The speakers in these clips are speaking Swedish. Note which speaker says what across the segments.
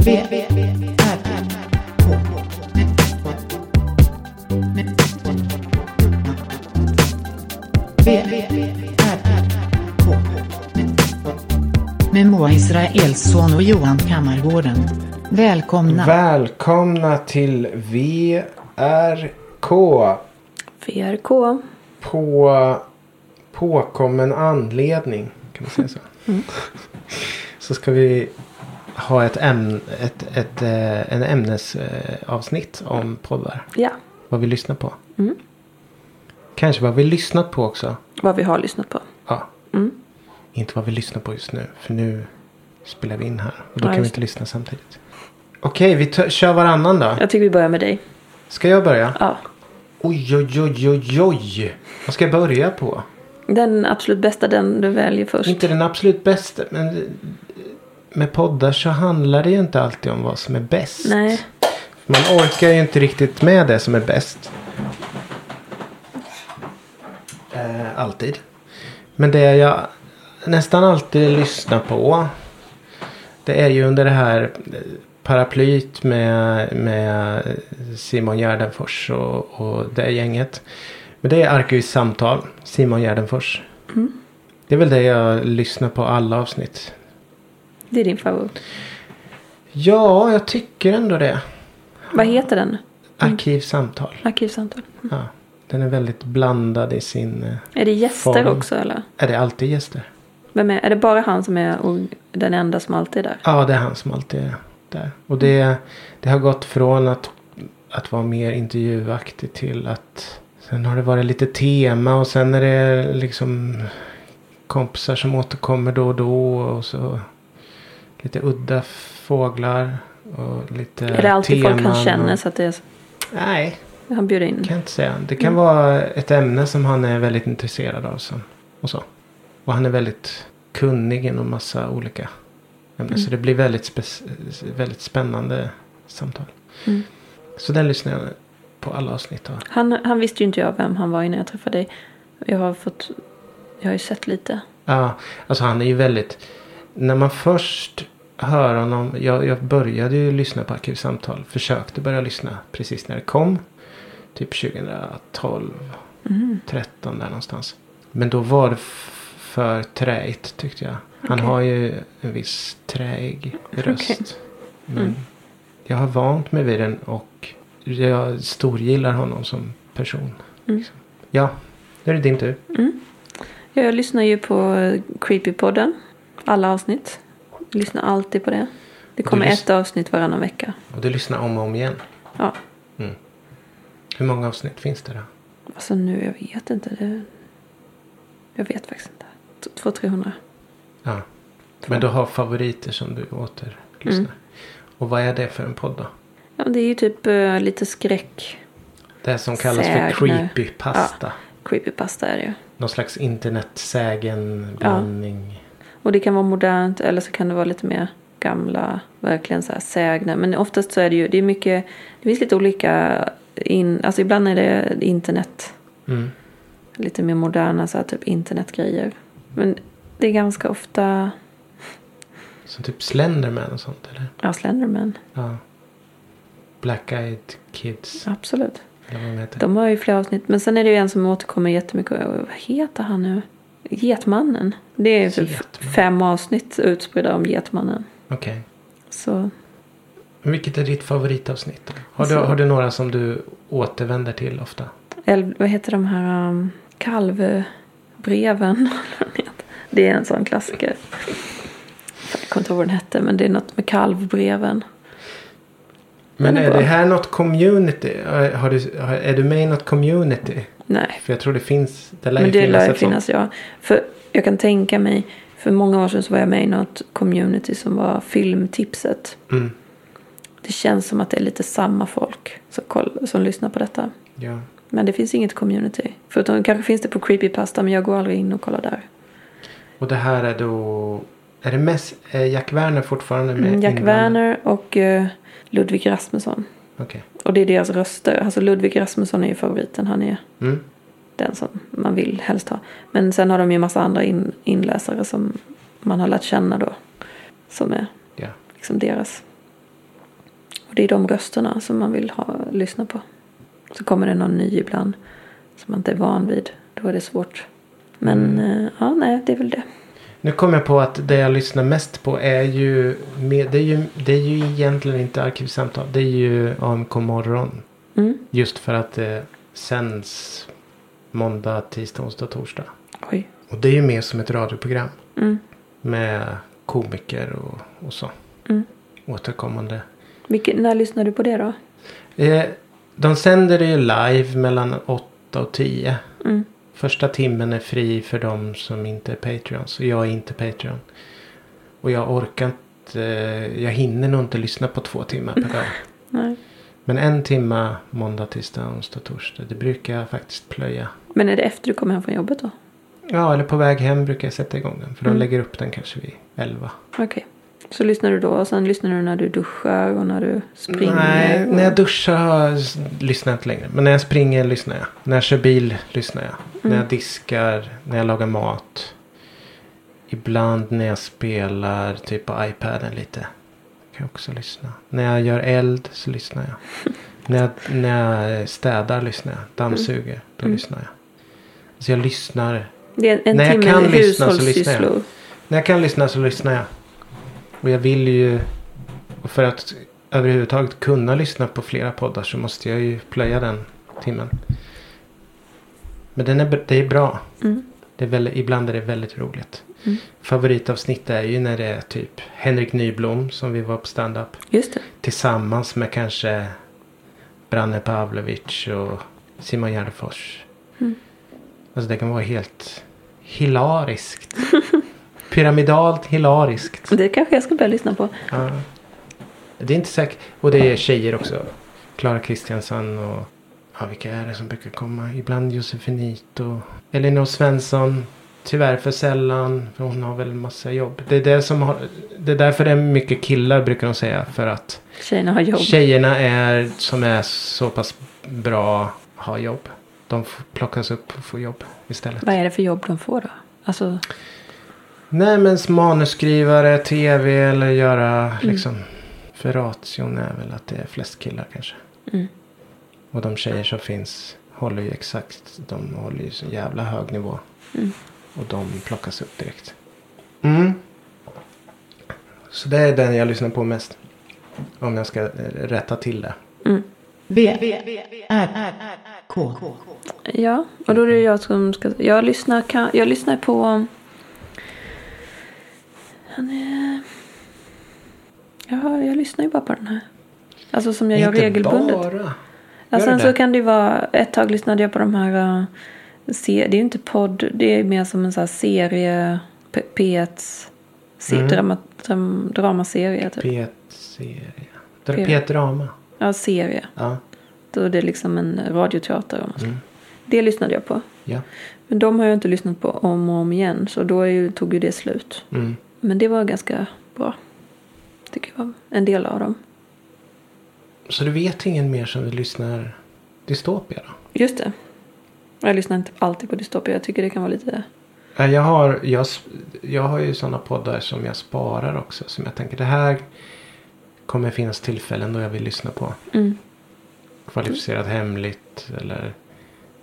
Speaker 1: V, V, V, R, K. V, V, V, R, K. Med Moa Israelsson och Johan Kammargården. Välkomna.
Speaker 2: Välkomna till VRK.
Speaker 3: VRK.
Speaker 2: På påkommen anledning. Kan man säga så.
Speaker 3: Mm.
Speaker 2: Så ska vi ha ett, ämn, ett, ett, eh, en ämnesavsnitt om poddar.
Speaker 3: Ja,
Speaker 2: Vad vi lyssnar på.
Speaker 3: Mm.
Speaker 2: Kanske vad vi lyssnat på också.
Speaker 3: vad vi har lyssnat på.
Speaker 2: Ja.
Speaker 3: Mm.
Speaker 2: Inte vad vi lyssnar på just nu. För nu spelar vi in här. Och då kan
Speaker 3: Ja,
Speaker 2: vi
Speaker 3: just
Speaker 2: inte lyssna samtidigt. Okej, vi t- kör varannan då.
Speaker 3: Jag tycker vi börjar med dig.
Speaker 2: Ska jag börja?
Speaker 3: Ja.
Speaker 2: Oj, oj, oj, oj, oj. Vad ska jag börja på?
Speaker 3: Den absolut bästa, den du väljer först.
Speaker 2: Inte den absolut bästa, men med poddar så handlar det ju inte alltid om vad som är bäst.
Speaker 3: Nej.
Speaker 2: Man orkar ju inte riktigt med det som är bäst. Eh, alltid. Men det jag nästan alltid lyssnar på. Det är ju under det här eh, paraplyet med, med Simon Gärdenfors och, och det gänget. Men det är Arkivsamtal, Simon Gärdenfors. Det är väl det jag lyssnar på alla avsnitt.
Speaker 3: Det är din favorit.
Speaker 2: Ja, jag tycker ändå det.
Speaker 3: Vad heter den?
Speaker 2: Arkivsamtal.
Speaker 3: Arkivsamtal.
Speaker 2: Ja, den är väldigt blandad i sin... eh,
Speaker 3: Är det gäster
Speaker 2: Form.
Speaker 3: också eller?
Speaker 2: Är det alltid gäster?
Speaker 3: Vem är, är det bara han som är och den enda som alltid är där?
Speaker 2: Ja, det är han som alltid är där. Och det, det har gått från att, att vara mer intervjuaktig till att... Sen har det varit lite tema och sen är det liksom kompisar som återkommer då och då. Och så lite udda fåglar. Och lite
Speaker 3: är det alltid folk
Speaker 2: Eh, teman
Speaker 3: han känner
Speaker 2: Och,
Speaker 3: så att det är,
Speaker 2: nej,
Speaker 3: han bjuder in?
Speaker 2: kan jag inte säga. Det kan vara ett ämne som han är väldigt intresserad av. Som, och, så. och han är väldigt kunnig inom massa olika ämnen. Så det blir väldigt, spe- väldigt spännande samtal.
Speaker 3: Mm.
Speaker 2: Så den lyssnar jag på alla avsnitt av.
Speaker 3: Han, han visste ju inte jag vem han var innan jag träffade dig. Jag har fått, jag har ju sett lite.
Speaker 2: Ja, alltså han är ju väldigt... När man först hör honom... Jag, jag började ju lyssna på Arkivsamtal. Försökte börja lyssna precis när det kom. Typ 2012,
Speaker 3: Mm.
Speaker 2: 13 där någonstans. Men då var det f- för träigt tyckte jag. Han
Speaker 3: Okej.
Speaker 2: har ju en viss träig röst.
Speaker 3: Okej.
Speaker 2: Men jag har vant mig vid den och jag storgillar honom som person.
Speaker 3: Mm.
Speaker 2: liksom. Ja, nu är det din tur.
Speaker 3: Ja, Jag lyssnar ju på eh, Creepypodden. Alla avsnitt. Jag lyssnar alltid på det. Det kommer
Speaker 2: Du lys-
Speaker 3: ett avsnitt varannan vecka.
Speaker 2: Och du lyssnar om och om igen. Mm.
Speaker 3: Ja,
Speaker 2: Hur många avsnitt finns det då?
Speaker 3: alltså nu, jag vet inte. Det... Jag vet faktiskt inte. T- 200-300.
Speaker 2: Ja. Men du har favoriter som du återlyssnar.
Speaker 3: Mm.
Speaker 2: Och vad är det för en podd då?
Speaker 3: Ja, men det är ju typ eh, lite skräck.
Speaker 2: Det som kallas
Speaker 3: Sägner.
Speaker 2: för creepypasta.
Speaker 3: Creepypasta är det ju.
Speaker 2: Någon slags internetsägen blandning.
Speaker 3: Och det kan vara modernt eller så kan det vara lite mer gamla, verkligen så här sägna. Men oftast så är det ju, det är mycket, det finns lite olika, in, alltså ibland är det internet.
Speaker 2: Mm.
Speaker 3: lite mer moderna så här, typ internetgrejer. Men det är ganska ofta
Speaker 2: Som typ Slenderman och sånt eller?
Speaker 3: ja, Slenderman.
Speaker 2: Ja. Black Eyed Kids.
Speaker 3: Absolut.
Speaker 2: Eller vad de heter.
Speaker 3: De har ju flera avsnitt. Men sen är det ju en som återkommer jättemycket. Och Vad heter han nu? Getmannen. Det är ju typ
Speaker 2: Getmannen.
Speaker 3: fem avsnitt utspridda om Getmannen.
Speaker 2: Okej.
Speaker 3: Så
Speaker 2: Vilket är ditt favoritavsnitt? Då? Har, du,
Speaker 3: Så.
Speaker 2: har du några som du återvänder till ofta?
Speaker 3: Eller vad heter de här um, kalvbreven? det är en sån klassiker. Jag kommer inte ihåg vad den hette men det är något med kalvbreven.
Speaker 2: Men
Speaker 3: Den är
Speaker 2: är
Speaker 3: bra.
Speaker 2: det här något community? Har har du, har, är du med i något community?
Speaker 3: Nej,
Speaker 2: För jag tror det finns. Det lär
Speaker 3: Men
Speaker 2: ju
Speaker 3: det
Speaker 2: finnas
Speaker 3: lär
Speaker 2: ett sånt.
Speaker 3: finnas, ja. För jag kan tänka mig, för många år sedan så var jag med i något community som var filmtipset.
Speaker 2: Mm.
Speaker 3: Det känns som att det är lite samma folk som, koll, som lyssnar på detta.
Speaker 2: Ja.
Speaker 3: Men det finns inget community. Förutom kanske finns det på Creepypasta men jag går aldrig in och kollar där.
Speaker 2: Och det här är då... Är det mest... Är Jack Werner fortfarande med?
Speaker 3: Mm, Jack
Speaker 2: inblandad?
Speaker 3: Werner och eh, Ludvig Rasmusson.
Speaker 2: Okej.
Speaker 3: Och det är deras röster. Alltså Ludvig Rasmusson är ju favoriten. Han är
Speaker 2: Mm.
Speaker 3: den som man vill helst ha. Men sen har de ju massa andra in, inläsare som man har lärt känna då. Som är
Speaker 2: Ja.
Speaker 3: liksom deras För det är de rösterna som man vill ha, lyssna på. Så kommer det någon ny ibland som man inte är van vid. Då är det svårt.
Speaker 2: Mm.
Speaker 3: Men eh, ja, nej, det är väl det.
Speaker 2: Nu kom jag på att det jag lyssnar mest på är ju, med, det är ju, det är ju egentligen inte Arkivsamtal. Det är ju AMK morgon.
Speaker 3: Mm.
Speaker 2: Just för att det sänds måndag, tisdag, onsdag, torsdag.
Speaker 3: Oj.
Speaker 2: Och det är ju mer som ett radioprogram.
Speaker 3: Mm.
Speaker 2: Med komiker och, och så.
Speaker 3: Mm.
Speaker 2: Återkommande.
Speaker 3: Vilken, när lyssnar du på det då?
Speaker 2: Eh, de sänder det ju live mellan 8 och 10.
Speaker 3: Mm.
Speaker 2: Första timmen är fri för de som inte är Patreons. Och jag är inte Patreon. Och jag orkar inte. eh, Jag hinner nog inte lyssna på två timmar per dag.
Speaker 3: Nej.
Speaker 2: Men en timma måndag, tisdag, onsdag, torsdag. Det brukar jag faktiskt plöja.
Speaker 3: Men är det efter du kommer hem från jobbet då?
Speaker 2: Ja, eller på väg hem brukar jag sätta igång den. För de
Speaker 3: Mm.
Speaker 2: lägger upp den kanske vid 11.
Speaker 3: Okej. Så lyssnar du då och sen lyssnar du när du duschar och när du springer?
Speaker 2: Nej,
Speaker 3: och...
Speaker 2: när jag duschar har jag s- lyssnar jag inte längre. Men när jag springer lyssnar jag. När jag kör bil lyssnar jag. När jag diskar, när jag lagar mat. Ibland när jag spelar typ på iPaden lite. Kan jag också lyssna. När jag gör eld så lyssnar jag. när, jag när jag städar lyssnar jag. Dammsuger, då lyssnar jag. Så jag lyssnar.
Speaker 3: Det är en
Speaker 2: När jag
Speaker 3: timme
Speaker 2: kan lyssna så lyssnar jag.
Speaker 3: hushållssysslor.
Speaker 2: När jag kan lyssna så lyssnar jag. Och jag vill ju. Och för att överhuvudtaget kunna lyssna på flera poddar så måste jag ju plöja den timmen. Men den är, det är bra.
Speaker 3: Mm.
Speaker 2: Det är väldigt, ibland är det väldigt roligt.
Speaker 3: Mm.
Speaker 2: Favoritavsnitt är ju när det är typ Henrik Nyblom som vi var på stand-up.
Speaker 3: Just det.
Speaker 2: Tillsammans med kanske Branne Pavlovic och Simon Gärdenfors.
Speaker 3: Mm.
Speaker 2: Alltså det kan vara helt hilariskt. Pyramidalt hilariskt.
Speaker 3: Det kanske jag ska börja lyssna på.
Speaker 2: Ja. Det är inte säkert. Och det är tjejer också. Klara Kristiansson och ja, vilka är det som brukar komma? Ibland Josefinito. Elinor Svensson. Tyvärr för sällan. För hon har väl massa jobb. Det är, det som har, det är därför det är mycket killar brukar de säga. För att
Speaker 3: Tjejerna har jobb.
Speaker 2: tjejerna är, som är så pass bra har jobb. De f- plockas upp och får jobb istället.
Speaker 3: Vad är det för jobb de får då? Alltså,
Speaker 2: Nej men s- manusskrivare, tv eller göra
Speaker 3: Mm.
Speaker 2: liksom. För ration är väl att det är flest killar kanske.
Speaker 3: Mm.
Speaker 2: Och de tjejer som finns håller ju exakt. De håller ju så jävla hög nivå.
Speaker 3: Mm.
Speaker 2: Och de plockas upp direkt. Mm. Så det är den jag lyssnar på mest. Om jag ska eh, rätta till det.
Speaker 3: mm.
Speaker 1: V, V, R, R, K.
Speaker 3: ja, och då är det jag som ska... Jag lyssnar, kan, jag lyssnar på... Han är- Ja, jag lyssnar ju bara på den här. Alltså som jag gör
Speaker 2: Inte
Speaker 3: regelbundet.
Speaker 2: bara.
Speaker 3: Ja,
Speaker 2: Gör
Speaker 3: sen
Speaker 2: det?
Speaker 3: så kan det ju vara, ett tag lyssnade jag på de här, eh, se, det är ju inte podd, det är mer som en sån här serie, P- P1, se,
Speaker 2: Mm.
Speaker 3: drama, dram, dramaserie typ.
Speaker 2: P1-serie. Det är
Speaker 3: P-
Speaker 2: P1-drama.
Speaker 3: Ja, serie.
Speaker 2: Ja.
Speaker 3: Då är det liksom en radioteater. Om man
Speaker 2: Mm.
Speaker 3: ska. Det lyssnade jag på.
Speaker 2: Ja.
Speaker 3: Men de har jag inte lyssnat på om och om igen, så då är ju, tog ju det slut.
Speaker 2: Mm.
Speaker 3: Men det var ganska bra. Tycker jag. En del av dem.
Speaker 2: Så du vet ingen mer som lyssnar dystopia då?
Speaker 3: Just det. Jag lyssnar inte alltid på Dystopia. Jag tycker det kan vara lite...
Speaker 2: Nej, Jag har, jag, s- jag har ju sådana poddar som jag sparar också. Som jag tänker det här kommer finnas tillfällen då jag vill lyssna på.
Speaker 3: Mm.
Speaker 2: Kvalificerat hemligt eller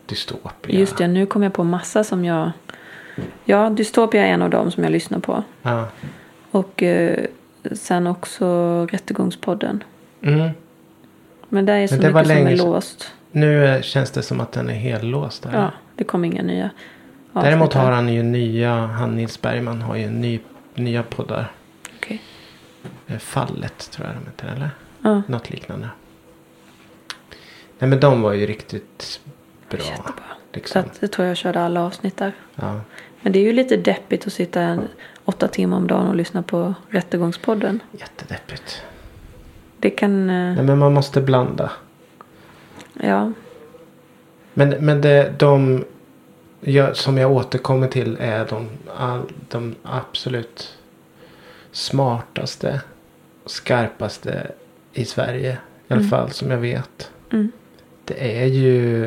Speaker 2: dystopia.
Speaker 3: Just det, nu kom jag på massa som jag... Ja, Dystopia är en av dem som jag lyssnar på.
Speaker 2: Ja.
Speaker 3: Och eh, sen också Rättegångspodden.
Speaker 2: Mm.
Speaker 3: Men där är så
Speaker 2: Men det var
Speaker 3: mycket som är
Speaker 2: länge sedan.
Speaker 3: låst.
Speaker 2: Nu eh, känns det som att den är hellåst. Där.
Speaker 3: Ja, det kom inga nya avsnitt
Speaker 2: Däremot har
Speaker 3: där.
Speaker 2: han ju nya, han Nils Bergman har ju ny, nya poddar.
Speaker 3: Okej.
Speaker 2: Eh, Fallet tror jag de heter, eller?
Speaker 3: Ja.
Speaker 2: Något liknande. Nej men de var ju riktigt bra.
Speaker 3: Jättebra. Så
Speaker 2: Liksom.
Speaker 3: att, jag tror jag körde alla avsnitt där.
Speaker 2: Ja.
Speaker 3: Men det är ju lite deppigt att sitta en, åtta timmar om dagen och lyssna på Rättegångspodden.
Speaker 2: Jättedeppigt.
Speaker 3: Det kan... eh,
Speaker 2: Nej men man måste blanda.
Speaker 3: Ja.
Speaker 2: Men, men det, de jag, som jag återkommer till är de, all, de absolut smartaste och skarpaste i Sverige. I alla fall som jag vet.
Speaker 3: Mm.
Speaker 2: Det är ju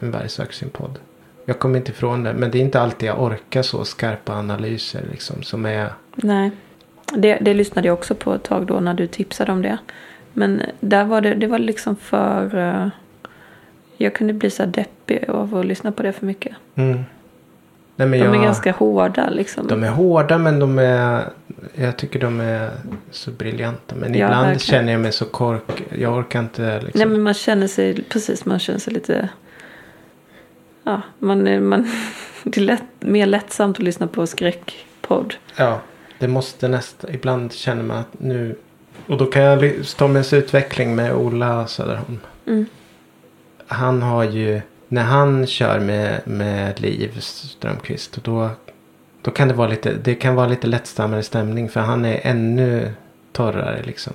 Speaker 2: en varg söker sin podd. Jag kommer inte ifrån det. Men det är inte alltid jag orkar så skarpa analyser. Liksom, som är
Speaker 3: Nej. Det, det lyssnade jag också på ett tag då när du tipsade om det. Men där var det, det var liksom för... eh, Jag kunde bli så här deppig av att lyssna på det för mycket.
Speaker 2: Mm. Nej, men
Speaker 3: De
Speaker 2: jag,
Speaker 3: är ganska hårda liksom.
Speaker 2: de är hårda men de är... Jag tycker de är så briljanta. Men
Speaker 3: Ja,
Speaker 2: ibland
Speaker 3: verkligen.
Speaker 2: känner jag mig så kork... Jag orkar inte liksom.
Speaker 3: Nej men man känner sig, precis man känner sig lite... Ja, man, är- man, det är lätt, mer lättsamt att lyssna på skräckpodd.
Speaker 2: Ja, det måste nästan... Ibland känner man att nu... Och då kan jag ly- Stommens utveckling med Ola Söderholm.
Speaker 3: Mm.
Speaker 2: Han har ju... När han kör med, med Liv Strömqvist. och Då, då kan det vara lite... Det kan vara lite lättstammare stämning. För han är ännu torrare liksom.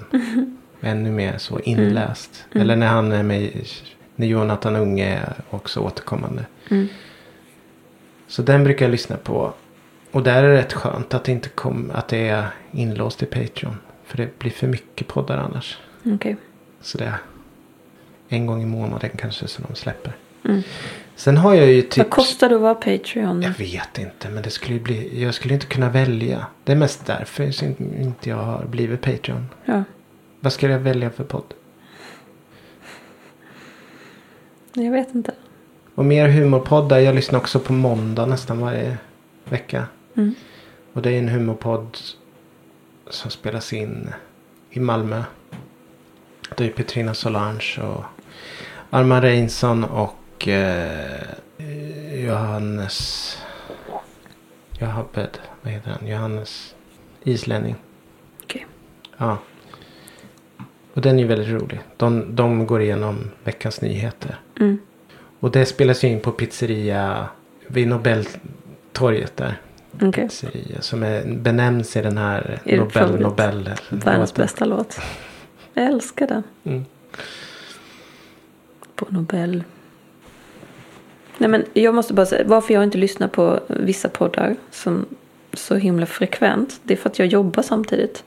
Speaker 2: Ännu mer så inläst. Eller när han är med... När Jonathan Unge är också återkommande.
Speaker 3: Mm.
Speaker 2: Så den brukar jag lyssna på. Och där är det rätt skönt att det, inte kom, att det är inlåst i Patreon. För det blir för mycket poddar annars.
Speaker 3: Okej.
Speaker 2: Så det är en gång i månaden kanske som de släpper.
Speaker 3: Mm.
Speaker 2: Sen har jag ju
Speaker 3: Vad
Speaker 2: typ...
Speaker 3: kostar det att vara Patreon?
Speaker 2: Jag vet inte men det skulle ju bli... Jag skulle inte kunna välja. Det är mest därför som inte jag har blivit Patreon.
Speaker 3: Ja.
Speaker 2: Vad skulle jag välja för podd?
Speaker 3: Jag vet inte.
Speaker 2: Och mer humorpoddar. Jag lyssnar också på måndag nästan varje vecka.
Speaker 3: Mm.
Speaker 2: Och det är en humorpodd som spelas in i Malmö. Det är Petrina Solange och Arman Reinsson och eh, Johannes... Johabed, vad heter han? Johannes islänning.
Speaker 3: Okej.
Speaker 2: Ja. Och den är ju väldigt rolig. De, de går igenom veckans nyheter.
Speaker 3: Mm.
Speaker 2: Och det spelas ju in på pizzeria vid Nobeltorget där.
Speaker 3: Okej.
Speaker 2: Pizzeria som är, benämns i den här
Speaker 3: Är det
Speaker 2: Nobel,
Speaker 3: favorit?
Speaker 2: Nobel.
Speaker 3: Världens
Speaker 2: låten.
Speaker 3: bästa låt. Jag älskar den.
Speaker 2: Mm.
Speaker 3: På Nobel. Nej men jag måste bara säga varför jag inte lyssnar på vissa poddar som så himla frekvent. Det är för att jag jobbar samtidigt.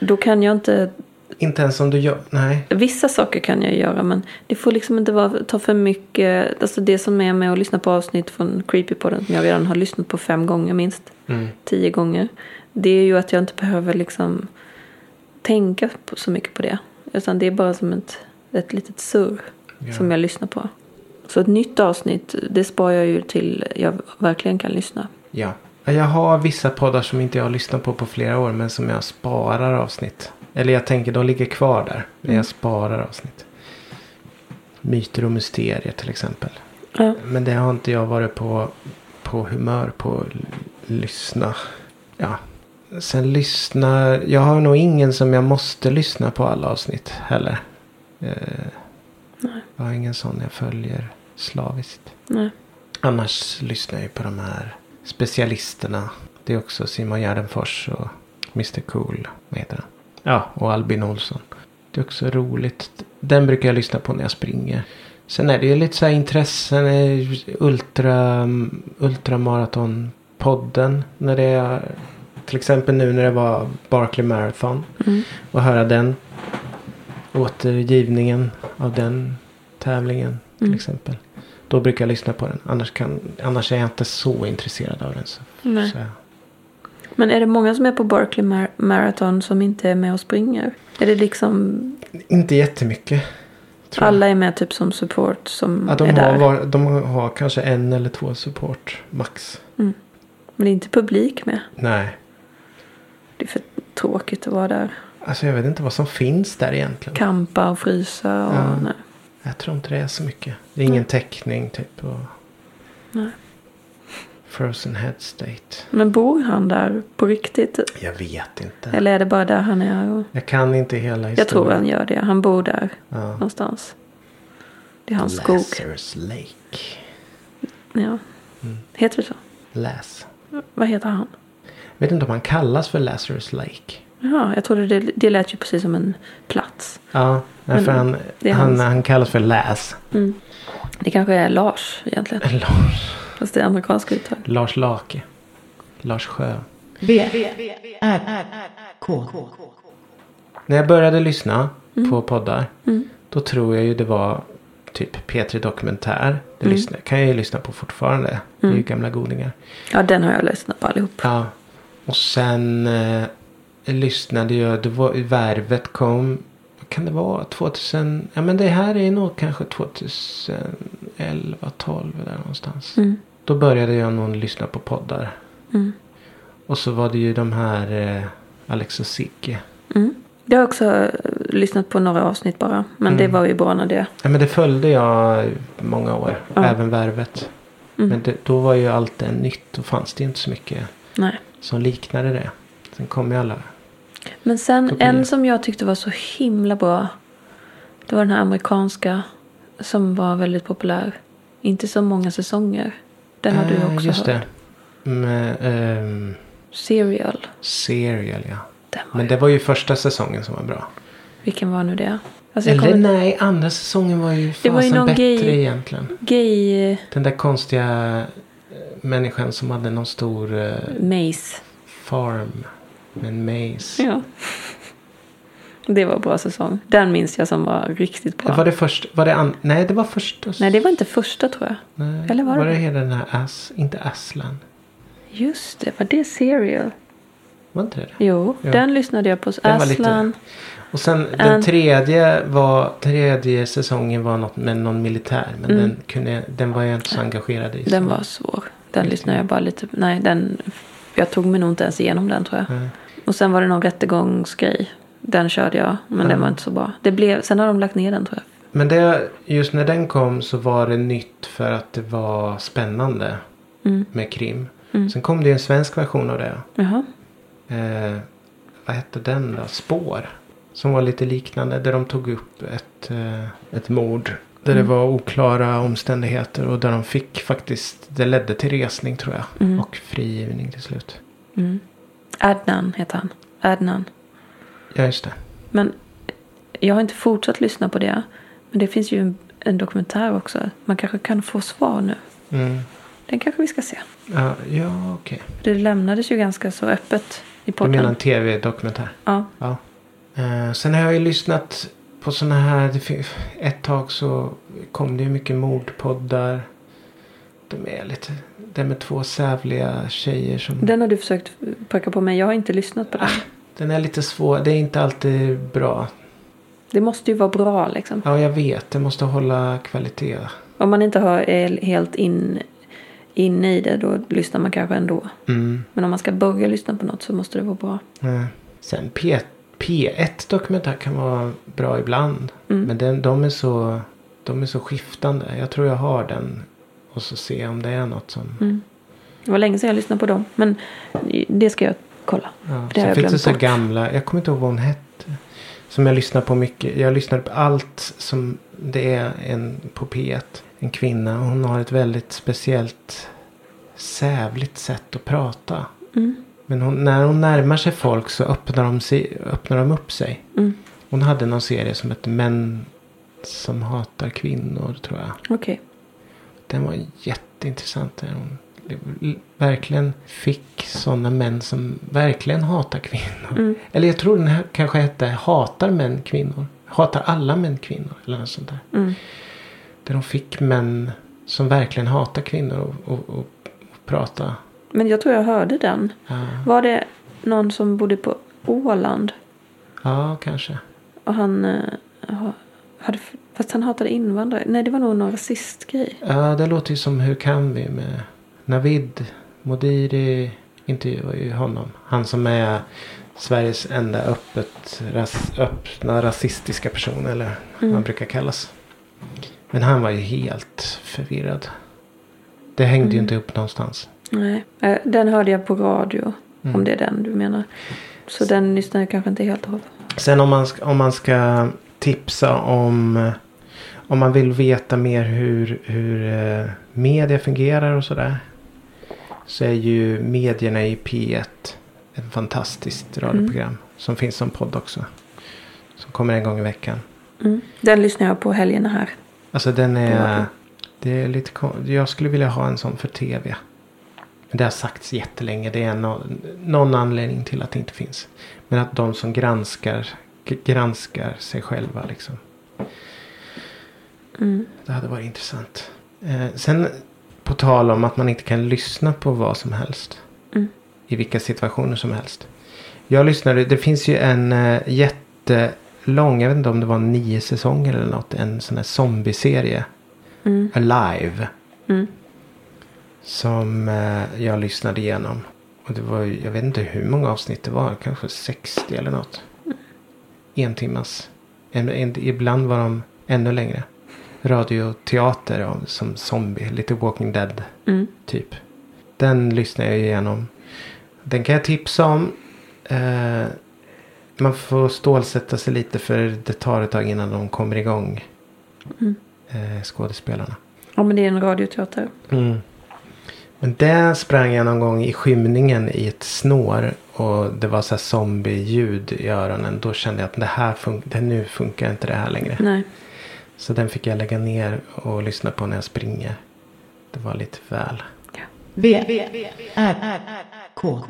Speaker 3: Då kan jag inte.
Speaker 2: Inte ens om du gör, nej.
Speaker 3: Vissa saker kan jag göra men det får liksom inte vara, ta för mycket. Alltså det som är med att lyssna på avsnitt från Creepypodden som jag redan har lyssnat på fem gånger minst.
Speaker 2: Mm.
Speaker 3: tio gånger. Det är ju att jag inte behöver liksom tänka på, så mycket på det. Utan det är bara som ett, ett litet surr
Speaker 2: Ja.
Speaker 3: som jag lyssnar på. Så ett nytt avsnitt, det sparar jag ju till jag verkligen kan lyssna.
Speaker 2: Ja. Jag har vissa poddar som inte jag har lyssnat på på flera år men som jag sparar avsnitt. Eller jag tänker de ligger kvar där. Men
Speaker 3: Mm.
Speaker 2: jag sparar avsnitt. Myter och mysterier till exempel.
Speaker 3: Ja.
Speaker 2: Men det har inte jag varit på, på humör på att l- lyssna. Ja. Sen lyssnar. Jag har nog ingen som jag måste lyssna på alla avsnitt heller. Eh, Jag har ingen sån jag följer slaviskt.
Speaker 3: Nej.
Speaker 2: Annars lyssnar jag ju på de här specialisterna. Det är också Simon Gärdenfors och Mr Cool. Vad heter han? Ja, och Albin Olsson. Det är också roligt. Den brukar jag lyssna på när jag springer. Sen är det ju lite så här intressen. eh, Ultra, ultramaratonpodden. När det är, till exempel nu när det var Barkley Marathon.
Speaker 3: Mm.
Speaker 2: Och höra den. Återgivningen av den tävlingen till
Speaker 3: Mm.
Speaker 2: exempel. Då brukar jag lyssna på den. Annars, kan, annars är jag inte så intresserad av den. Så,
Speaker 3: Nej.
Speaker 2: så jag-
Speaker 3: Men är det många som är på Berkeley Mar- Marathon som inte är med och springer? Är det liksom
Speaker 2: inte jättemycket. Tror jag.
Speaker 3: alla är med typ som support som
Speaker 2: Ja, de,
Speaker 3: är där?
Speaker 2: har var, de har kanske en eller två support max.
Speaker 3: Men det är inte publik med.
Speaker 2: Nej.
Speaker 3: Det är för tråkigt att vara där.
Speaker 2: Alltså jag vet inte vad som finns där egentligen.
Speaker 3: Kampa och frysa och
Speaker 2: Ja.
Speaker 3: nej.
Speaker 2: Jag tror inte det är så mycket. Det är ingen täckning typ. Och...
Speaker 3: Nej.
Speaker 2: Frozen Head State.
Speaker 3: Men bor han där på riktigt?
Speaker 2: Jag vet inte.
Speaker 3: Eller är det bara där han är? Och...
Speaker 2: Jag kan inte hela historien.
Speaker 3: Jag tror han gör det. Han bor där
Speaker 2: Ja.
Speaker 3: någonstans. Det är hans skog.
Speaker 2: Lazarus Lake.
Speaker 3: Ja. Heter det så?
Speaker 2: Läs.
Speaker 3: Vad heter han?
Speaker 2: Vet inte om han kallas för Lazarus Lake.
Speaker 3: Ja, jag trodde det, det lät ju precis som en plats.
Speaker 2: Ja, nej,
Speaker 3: Men
Speaker 2: för han,
Speaker 3: det är
Speaker 2: han,
Speaker 3: hans.
Speaker 2: han kallas för Läs.
Speaker 3: Det kanske är Lars egentligen.
Speaker 2: Lars,
Speaker 3: Fast det är amerikanska uttag.
Speaker 2: Lars Lake. Lars Sjö.
Speaker 1: B, R, K,
Speaker 2: När jag började lyssna
Speaker 3: Mm.
Speaker 2: på poddar. Då tror jag ju det var typ P3 Dokumentär. Det
Speaker 3: Mm.
Speaker 2: lyssnar, kan jag ju lyssna på fortfarande. Det är ju gamla godingar.
Speaker 3: Ja, den har jag lyssnat på allihop.
Speaker 2: Ja. Och sen eh, lyssnade jag, det var, Värvet kom, vad kan det vara, 2000, ja men det här är nog kanske 2011, 12 där någonstans.
Speaker 3: Mm.
Speaker 2: Då började jag nog lyssna på poddar.
Speaker 3: Mm.
Speaker 2: Och så var det ju de här eh, Alex och Sigge.
Speaker 3: Mm. Jag har också eh, lyssnat på några avsnitt bara. Men det var ju bra när det...
Speaker 2: Ja, men det följde jag i många år.
Speaker 3: Ja.
Speaker 2: Även Värvet.
Speaker 3: Mm.
Speaker 2: Men det, då var ju allt det nytt. Då fanns det ju inte så mycket
Speaker 3: Nej.
Speaker 2: som liknade det. Sen kom ju alla.
Speaker 3: Men sen
Speaker 2: Då blir det-
Speaker 3: en som jag tyckte var så himla bra. Det var den här amerikanska. Som var väldigt populär. Inte så många säsonger. Den har du
Speaker 2: Eh,
Speaker 3: också
Speaker 2: Just det.
Speaker 3: hört.
Speaker 2: Med, ehm,
Speaker 3: Serial.
Speaker 2: Serial ja.
Speaker 3: Den var
Speaker 2: Men det var ju första säsongen som var bra.
Speaker 3: Vilken var nu det? Alltså jag
Speaker 2: Eller
Speaker 3: kommer...
Speaker 2: nej, andra säsongen var ju
Speaker 3: Det
Speaker 2: fasen
Speaker 3: var ju någon
Speaker 2: bättre
Speaker 3: gay-
Speaker 2: egentligen.
Speaker 3: Gay
Speaker 2: Den där konstiga eh, människan som hade någon stor eh,
Speaker 3: Mace.
Speaker 2: farm. Med en maze.
Speaker 3: Ja. Det var en bra säsong. Den minns jag som var riktigt bra.
Speaker 2: Var det först? Var det an- nej, det var första.
Speaker 3: Nej, det var inte första tror jag.
Speaker 2: Nej,
Speaker 3: Eller var
Speaker 2: var
Speaker 3: det?
Speaker 2: det hela den här As, inte Aslan?
Speaker 3: Just det, var det Serial?
Speaker 2: Var inte det det?
Speaker 3: Jo,
Speaker 2: Ja.
Speaker 3: den lyssnade jag på.
Speaker 2: Den var lite-
Speaker 3: Aslan.
Speaker 2: Och sen
Speaker 3: Ant-
Speaker 2: den tredje, var, tredje säsongen var något med någon militär. Men
Speaker 3: Mm.
Speaker 2: den, kunde, den var jag inte så engagerad i.
Speaker 3: Den
Speaker 2: så-
Speaker 3: var svår. Den lyssnade jag bara lite Nej, den... Jag tog mig nog inte ens igenom den tror jag.
Speaker 2: Nej.
Speaker 3: Och sen var det någon rättegångsgrej. Den körde jag, men
Speaker 2: Mm.
Speaker 3: den var inte så bra. Det blev... Sen har de lagt ner den tror jag.
Speaker 2: Men det, just när den kom så var det nytt för att det var spännande
Speaker 3: Mm.
Speaker 2: med krim.
Speaker 3: Mm.
Speaker 2: Sen kom det ju en svensk version av det.
Speaker 3: Jaha.
Speaker 2: Eh, vad hette den då? Spår. Som var lite liknande. Där de tog upp ett, eh, ett mord. Där
Speaker 3: Mm.
Speaker 2: det var oklara omständigheter. Och där de fick faktiskt. Det ledde till resning tror jag.
Speaker 3: Mm.
Speaker 2: Och frigivning till slut.
Speaker 3: Mm. Adnan heter han. Adnan.
Speaker 2: Ja just det.
Speaker 3: Men jag har inte fortsatt lyssna på det. Men det finns ju en, en dokumentär också. Man kanske kan få svar nu.
Speaker 2: Mm.
Speaker 3: Den kanske vi ska se.
Speaker 2: Ja, ja okej.
Speaker 3: Det lämnades ju ganska så öppet i
Speaker 2: Du
Speaker 3: podden.
Speaker 2: menar en tv-dokumentär?
Speaker 3: Ja.
Speaker 2: Ja. Eh, sen har jag ju lyssnat på sådana här. Det fin- ett tag så kom det ju mycket mordpoddar. De är lite. Det med två sävliga tjejer som.
Speaker 3: Den har du försökt packa på mig. Jag har inte lyssnat på den.
Speaker 2: Ah. Den är lite svår. Det är inte alltid bra.
Speaker 3: Det måste ju vara bra liksom.
Speaker 2: Ja, jag vet. Det måste hålla kvalitet.
Speaker 3: Om man inte har, är helt in, inne i det då lyssnar man kanske ändå.
Speaker 2: Mm.
Speaker 3: Men om man ska börja lyssna på något så måste det vara bra.
Speaker 2: Eh. Sen P- P1 dokumentär kan vara bra ibland.
Speaker 3: Mm.
Speaker 2: Men den, de, är så, de är så skiftande. Jag tror jag har den. Och så se om det är något som...
Speaker 3: Mm. Det var länge sedan jag lyssnade på dem. Men det ska jag kolla.
Speaker 2: Ja.
Speaker 3: Det har
Speaker 2: Sen
Speaker 3: jag
Speaker 2: finns det
Speaker 3: glömt
Speaker 2: så
Speaker 3: bort.
Speaker 2: gamla. Jag kommer inte ihåg vad hon hette. Som jag lyssnar på mycket. Jag lyssnar på allt som det är en, på P1. En kvinna. Hon har ett väldigt speciellt sävligt sätt att prata.
Speaker 3: Mm.
Speaker 2: Men hon, när hon närmar sig folk så öppnar de, sig, öppnar de upp sig.
Speaker 3: Mm.
Speaker 2: Hon hade någon serie som hette Män som hatar kvinnor tror jag.
Speaker 3: Okej.
Speaker 2: Den var jätteintressant. Där hon li- verkligen fick sådana män som verkligen hatar kvinnor.
Speaker 3: Mm.
Speaker 2: Eller jag tror den här kanske hette Hatar män kvinnor. Hatar alla män kvinnor. Eller något sånt där.
Speaker 3: Mm.
Speaker 2: Där de fick män som verkligen hatar kvinnor och, och, och, och prata.
Speaker 3: Men jag tror jag hörde den.
Speaker 2: Ja,
Speaker 3: Var det någon som bodde på Åland?
Speaker 2: ja kanske.
Speaker 3: Och han eh, ha- hade... Fast han hatade invandrare. Nej, det var nog någon rasistgrej.
Speaker 2: Ja, det låter ju som Hur kan vi med Navid Modiri intervjuar ju honom. Han som är Sveriges enda öppet, ras, öppna rasistiska person eller vad han brukar kallas. Men han var ju helt förvirrad. Det hängde ju inte upp någonstans.
Speaker 3: Nej. Eh, Den hörde jag på radio.
Speaker 2: Mm.
Speaker 3: Om det är den du menar. Så den lyssnade jag kanske inte helt av.
Speaker 2: Sen om man, ska- om man ska tipsa om eh, om man vill veta mer hur, hur eh, media fungerar och sådär. Så är ju medierna i P1 ett fantastiskt radioprogram.
Speaker 3: Mm.
Speaker 2: Som finns som podd också. Som kommer en gång i veckan.
Speaker 3: Mm. Den lyssnar jag på helgerna här.
Speaker 2: Alltså den
Speaker 3: Det var
Speaker 2: är...
Speaker 3: bra.
Speaker 2: Det är lite kon- Jag skulle vilja ha en sån för tv. Men Det har sagts jättelänge. Det är no, någon anledning till att det inte finns. Men att de som granskar, g- granskar sig själva liksom.
Speaker 3: Mm.
Speaker 2: Det hade varit intressant. Eh, sen på tal om att man inte kan lyssna på vad som helst.
Speaker 3: Mm.
Speaker 2: I vilka situationer som helst. Jag lyssnade, det finns ju en eh, jättelång, jag vet inte om det var nio säsonger eller något, en sån här zombieserie.
Speaker 3: Mm.
Speaker 2: Alive.
Speaker 3: Mm.
Speaker 2: Som eh, jag lyssnade igenom. Och det var, ju- jag vet inte hur många avsnitt det var, kanske 60 eller något. En timmas. En, en, ibland var de ännu längre. Radioteater av, som zombie, lite Walking Dead
Speaker 3: Mm.
Speaker 2: typ. Den lyssnar jag igenom. Den kan jag tipsa om. Eh, man får stålsätta sig lite för det tar ett tag innan de kommer igång.
Speaker 3: Mm.
Speaker 2: Eh, skådespelarna.
Speaker 3: Ja, men det är en radioteater.
Speaker 2: Mm. Men där sprang jag någon gång i skymningen i ett snår. Och det var så här zombie-ljud i öronen. Då kände jag att det här fun- det, nu funkar inte det här längre.
Speaker 3: Nej.
Speaker 2: Så den fick jag lägga ner och lyssna på när jag springer. Det var lite väl.
Speaker 1: V, V, R, R, K.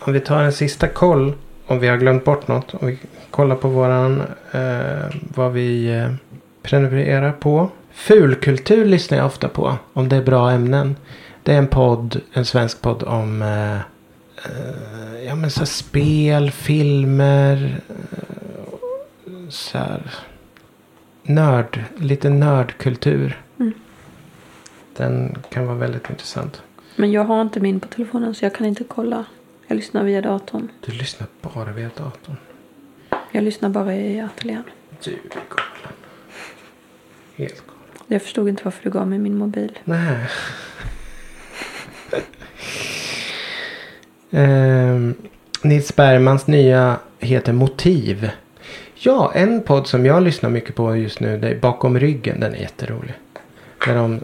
Speaker 2: Om vi tar en sista koll. Om vi har glömt bort något. Om vi kollar på våran. Eh, vad vi eh, prenumererar på. Fulkultur lyssnar jag ofta på. Om det är bra ämnen. Det är en podd. En svensk podd om. Eh, eh, ja men så här spel, filmer. Eh, så här. Nörd. Lite nördkultur.
Speaker 3: Mm.
Speaker 2: Den kan vara väldigt intressant.
Speaker 3: Men jag har inte min på telefonen så jag kan inte kolla. Jag lyssnar via datorn.
Speaker 2: Du lyssnar bara via datorn.
Speaker 3: Jag lyssnar bara i ateljén.
Speaker 2: Du är galen. Helt galen.
Speaker 3: Jag förstod inte varför du gav mig min mobil.
Speaker 2: Nej. Ehm, Nils Bergmans nya heter Motiv. Ja, en podd som jag lyssnar mycket på just nu det är Bakom ryggen. Den är jätterolig. När, de,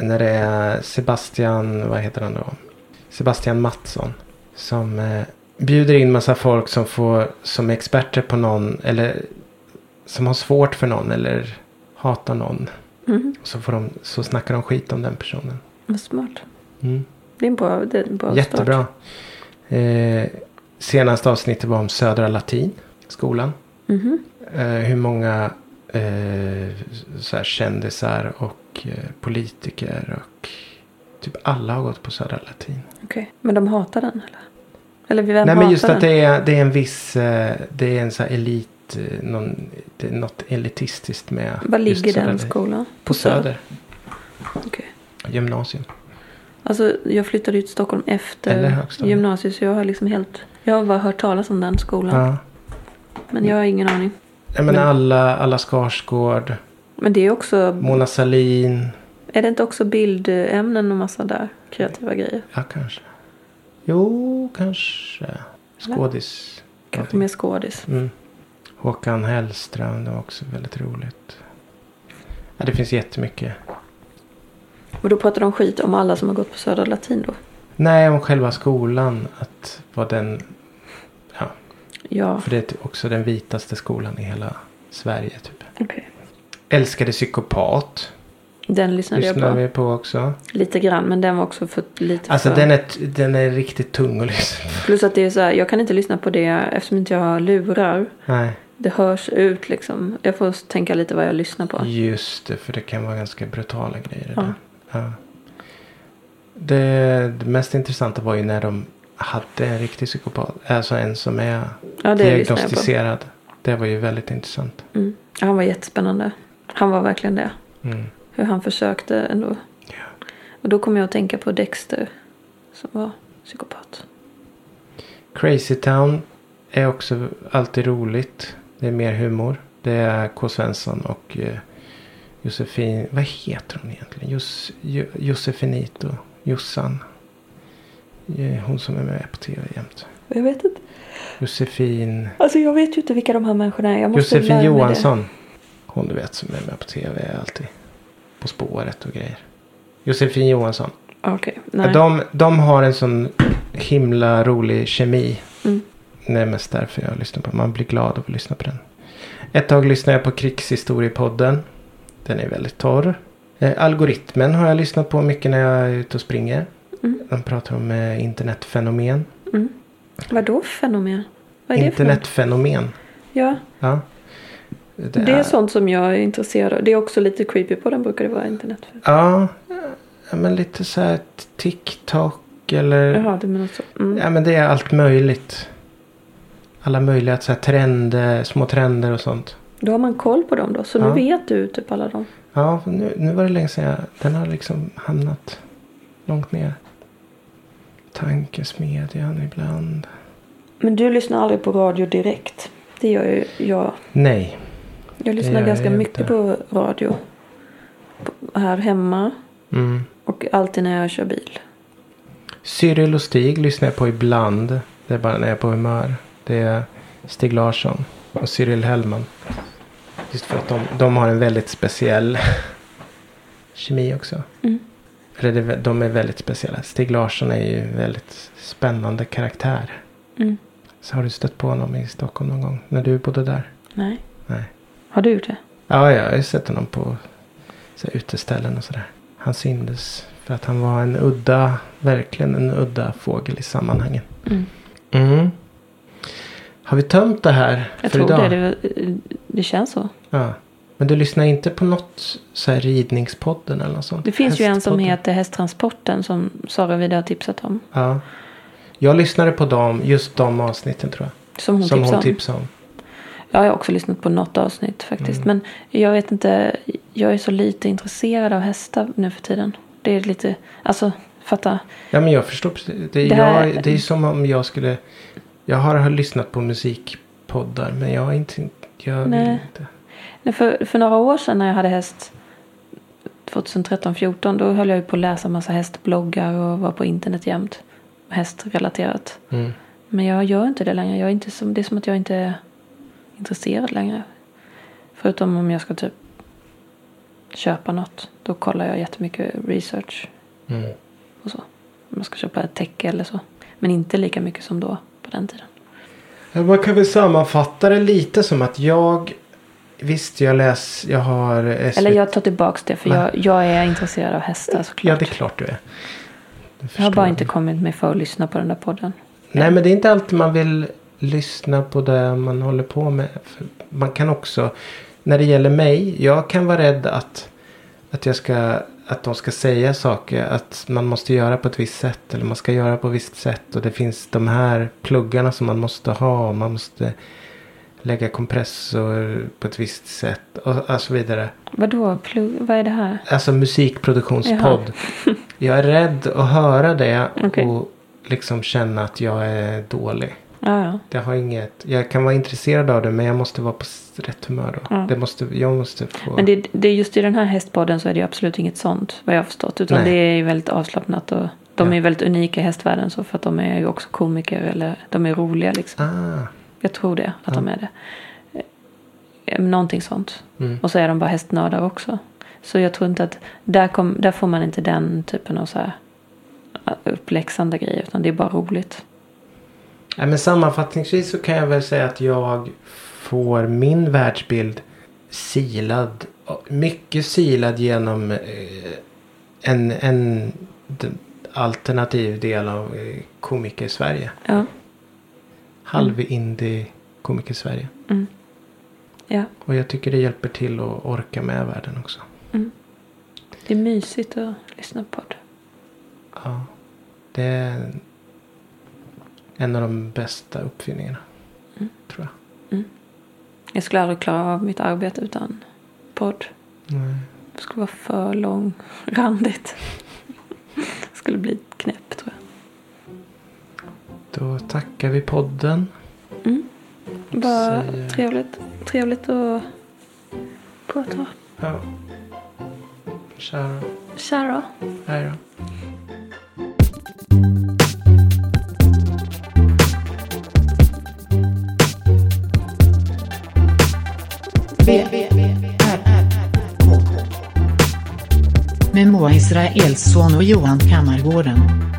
Speaker 2: när det är Sebastian, vad heter han då? Sebastian Mattsson. Som eh, bjuder in massa folk som, får, som är experter på någon. Eller som har svårt för någon eller hatar någon.
Speaker 3: Mm.
Speaker 2: Så, får de, så snackar de skit om den personen.
Speaker 3: Vad smart. Det är en bra, det är en bra start.
Speaker 2: Mm. Jättebra. Eh, senaste avsnittet var om Södra Latin, skolan.
Speaker 3: Mhm.
Speaker 2: Eh, hur många eh, så här kändisar och eh, politiker och typ alla har gått på Södra Latin.
Speaker 3: Okej. Men de hatar den eller? Eller vem
Speaker 2: Nej
Speaker 3: hatar
Speaker 2: men just
Speaker 3: den?
Speaker 2: att det är, det är en viss, eh, det är en så här elit, eh, någon, det är något elitistiskt med
Speaker 3: Var
Speaker 2: just
Speaker 3: ligger
Speaker 2: Södra
Speaker 3: den
Speaker 2: Latin.
Speaker 3: skolan?
Speaker 2: På Söder,
Speaker 3: Okej.
Speaker 2: gymnasium.
Speaker 3: Alltså jag flyttade ut till Stockholm
Speaker 2: Eller
Speaker 3: efter
Speaker 2: högstadiet.
Speaker 3: gymnasiet så jag har liksom helt... Jag har bara hört talas om den skolan.
Speaker 2: Ja.
Speaker 3: Men jag har ingen aning.
Speaker 2: Nej, men alla, alla Skarsgård,
Speaker 3: Men det är också...
Speaker 2: Mona Sahlin.
Speaker 3: Är det inte också bildämnen och massa där kreativa grejer?
Speaker 2: Ja, kanske. Jo, kanske. Skådis.
Speaker 3: Kanske mer skådis.
Speaker 2: Mm. Håkan Hellström, det var också väldigt roligt. Ja, det finns jättemycket.
Speaker 3: Och då pratar de skit om alla som har gått på Södra Latin då?
Speaker 2: Nej, om själva skolan. Att vad den... Ja,
Speaker 3: Ja.
Speaker 2: för det är också den vitaste skolan i hela Sverige, typ.
Speaker 3: Okej.
Speaker 2: Älskade psykopat.
Speaker 3: Den lyssnade jag
Speaker 2: Lyssnar
Speaker 3: på
Speaker 2: vi på också.
Speaker 3: lite grann men den var också för lite
Speaker 2: Alltså
Speaker 3: för...
Speaker 2: den är, den är riktigt tung att lyssna på.
Speaker 3: Plus att det är så här, jag kan inte lyssna på det eftersom inte jag har lurar.
Speaker 2: Nej.
Speaker 3: Det hörs ut liksom. Jag får tänka lite vad jag lyssnar på.
Speaker 2: Just det, för det kan vara ganska brutala grejer. det
Speaker 3: Ja.
Speaker 2: där. Ja. Det, det mest intressanta var ju när de hade en riktig psykopat. Alltså en som är
Speaker 3: Ja, det lyssnar jag på.
Speaker 2: diagnostiserad. Det var ju väldigt intressant.
Speaker 3: Mm. Ja, Han var jättespännande. Han var verkligen det.
Speaker 2: Mm.
Speaker 3: Hur han försökte ändå.
Speaker 2: Ja.
Speaker 3: Och då kom jag att tänka på Dexter. Som var psykopat.
Speaker 2: Crazy Town är också alltid roligt. Det är mer humor. Det är K. Svensson och eh, Josefin. Vad heter hon egentligen? Jos, jo, Josefinito. Jossan. Eh, Hon som är med på tv jämt.
Speaker 3: Och Jag vet inte.
Speaker 2: Josefin.
Speaker 3: Alltså jag vet ju inte vilka de här människorna är. Jag måste lära
Speaker 2: Josefin
Speaker 3: mig
Speaker 2: Johansson. Hon du vet som är med på tv alltid. På spåret och grejer. Josefin Johansson.
Speaker 3: det. Ah, Okej. Nej.
Speaker 2: De, de har en sån himla rolig kemi.
Speaker 3: Mm.
Speaker 2: Det är mest därför jag lyssnar på den. Man blir glad av att lyssna på den. Ett tag lyssnade jag på Krigshistoriepodden. Den är väldigt torr. Eh, Algoritmen har jag lyssnat på mycket när jag är ute och springer.
Speaker 3: Mm.
Speaker 2: De pratar om eh, internetfenomen.
Speaker 3: Mm. Vadå för fenomen? Vad är det
Speaker 2: Internetfenomen.
Speaker 3: för något? Ja.
Speaker 2: Ja.
Speaker 3: Det är sånt som jag är intresserad av. Det är också lite creepy på den brukar det vara internet.
Speaker 2: Ja, ja, men lite så här t- TikTok, musik eller...
Speaker 3: Jaha, du menar så. Mm.
Speaker 2: Ja men det är allt möjligt. Alla möjliga så här, trender, små trender och sånt.
Speaker 3: Då har man koll på dem då. Så
Speaker 2: Ja.
Speaker 3: nu vet du typ alla dem.
Speaker 2: Ja, nu, nu var det länge sedan jag... Den har liksom hamnat långt ner. Tankesmedjan ibland.
Speaker 3: Men du lyssnar aldrig på radio direkt. Det gör ju jag.
Speaker 2: Nej.
Speaker 3: Jag lyssnar
Speaker 2: gör jag
Speaker 3: ganska
Speaker 2: ju
Speaker 3: mycket
Speaker 2: inte.
Speaker 3: på radio. På- Här hemma.
Speaker 2: Mm.
Speaker 3: Och alltid när jag kör bil.
Speaker 2: Cyril och Stig lyssnar jag på ibland. Det är bara när jag är på humör. Det är Stig Larsson och Cyril Hellman. Just för att de, de har en väldigt speciell kemi också.
Speaker 3: Mm.
Speaker 2: Eller det, de är väldigt speciella. Stig Larsson är ju en väldigt spännande karaktär.
Speaker 3: Mm.
Speaker 2: Så har du stött på honom i Stockholm någon gång? När du bodde där?
Speaker 3: Nej.
Speaker 2: Nej.
Speaker 3: Har du gjort det?
Speaker 2: Ja, jag har ju sett honom på så här, uteställen och sådär. Han syndes för att han var en udda, verkligen en udda fågel i sammanhangen.
Speaker 3: Mm.
Speaker 2: Mm. Har vi tömt det här
Speaker 3: Jag
Speaker 2: för
Speaker 3: tror
Speaker 2: idag?
Speaker 3: det. det. Det känns så.
Speaker 2: Ja. Men du lyssnar inte på något så här ridningspodden eller något sånt?
Speaker 3: Det finns ju en som
Speaker 2: Hästpodden?
Speaker 3: heter Hästtransporten som Sara Vida har tipsat om.
Speaker 2: Ja. Jag lyssnade på dem, just de avsnitten tror jag.
Speaker 3: Som hon
Speaker 2: som
Speaker 3: tipsade
Speaker 2: hon
Speaker 3: om.
Speaker 2: tipsade om.
Speaker 3: Jag har också lyssnat på något avsnitt faktiskt.
Speaker 2: Mm.
Speaker 3: Men jag vet inte. Jag är så lite intresserad av hästar nu för tiden. Det är lite. Alltså fatta.
Speaker 2: Ja men jag förstår precis. Det,
Speaker 3: Det här-
Speaker 2: jag, det är som om jag skulle. Jag har, har lyssnat på musikpoddar men jag är inte. Jag vill
Speaker 3: Nej.
Speaker 2: inte.
Speaker 3: Nej, För, för några år sedan när jag hade häst. 2013-14. Då höll jag ju på att läsa massa hästbloggar. Och var på internet jämt. Hästrelaterat.
Speaker 2: Mm.
Speaker 3: Men jag gör inte det längre. Jag är inte som, det är som att jag inte är intresserad längre. Förutom om jag ska typ köpa något. Då kollar jag jättemycket research
Speaker 2: Mm.
Speaker 3: och så. Om jag ska köpa ett täcke eller så. Men inte lika mycket som då på den tiden.
Speaker 2: Ja, man kan väl sammanfatta det lite som att jag. Visst jag läs. Jag har. SVT
Speaker 3: Eller jag tar tillbaks det för jag, jag är intresserad av hästar såklart.
Speaker 2: Ja, det är klart du är. Du
Speaker 3: jag har
Speaker 2: förstår.
Speaker 3: bara inte kommit mig för att lyssna på den där podden.
Speaker 2: Nej, men det är inte alltid man vill lyssna på det man håller på med. För Man kan också, när det gäller mig, jag kan vara rädd att, att, jag ska, att de ska säga saker. Att man måste göra på ett visst sätt. Eller man ska göra på ett visst sätt. Och det finns de här pluggarna som man måste ha. och Man måste lägga kompressor på ett visst sätt. Och, och så vidare.
Speaker 3: Vadå? Plug, vad är det här?
Speaker 2: Alltså musikproduktionspodd. jag är rädd att höra det
Speaker 3: Okej.
Speaker 2: och liksom känna att jag är dålig.
Speaker 3: Ja, ja.
Speaker 2: Det har inget, jag kan vara intresserad av det men jag måste vara på s- rätt humör då.
Speaker 3: Ja.
Speaker 2: Det måste, jag måste få...
Speaker 3: Men det, det, är just i den här hästpodden så är det ju absolut inget sånt vad jag har förstått. Utan
Speaker 2: Nej.
Speaker 3: det är ju väldigt avslappnat och de
Speaker 2: Ja.
Speaker 3: är ju väldigt unika i hästvärlden så för att de är ju också komiker eller de är roliga liksom.
Speaker 2: Ah,
Speaker 3: Jag tror det, att de är det. Eh, Någonting sånt.
Speaker 2: Mm.
Speaker 3: Och så är de bara hästnördar också. Så jag tror inte att där, kom, där får man inte den typen av så här eh, uppläxande grejer utan det är bara roligt.
Speaker 2: nej, men sammanfattningsvis så kan jag väl säga att jag får min världsbild silad. Mycket silad genom eh, en, en d- alternativ del av eh, komiker Sverige.
Speaker 3: Ja,
Speaker 2: Halv indie komiker Sverige.
Speaker 3: Mm. ja.
Speaker 2: Och jag tycker det hjälper till att orka med världen också.
Speaker 3: Mm. det är mysigt att lyssna på det.
Speaker 2: Ja. Det är en av de bästa uppfinningarna. Tror jag.
Speaker 3: Jag skulle aldrig klara av mitt arbete utan podd.
Speaker 2: Nej.
Speaker 3: Det skulle vara för lång, randigt. Det skulle bli knäpp tror
Speaker 2: Då tackar vi podden.
Speaker 3: jag. Mm. Bara
Speaker 2: Säger-
Speaker 3: trevligt, trevligt att prata.
Speaker 2: Ja. Tja då.
Speaker 3: Tja då.
Speaker 2: Hej då.
Speaker 1: Med Moa Israelsson och Johan Kammargården.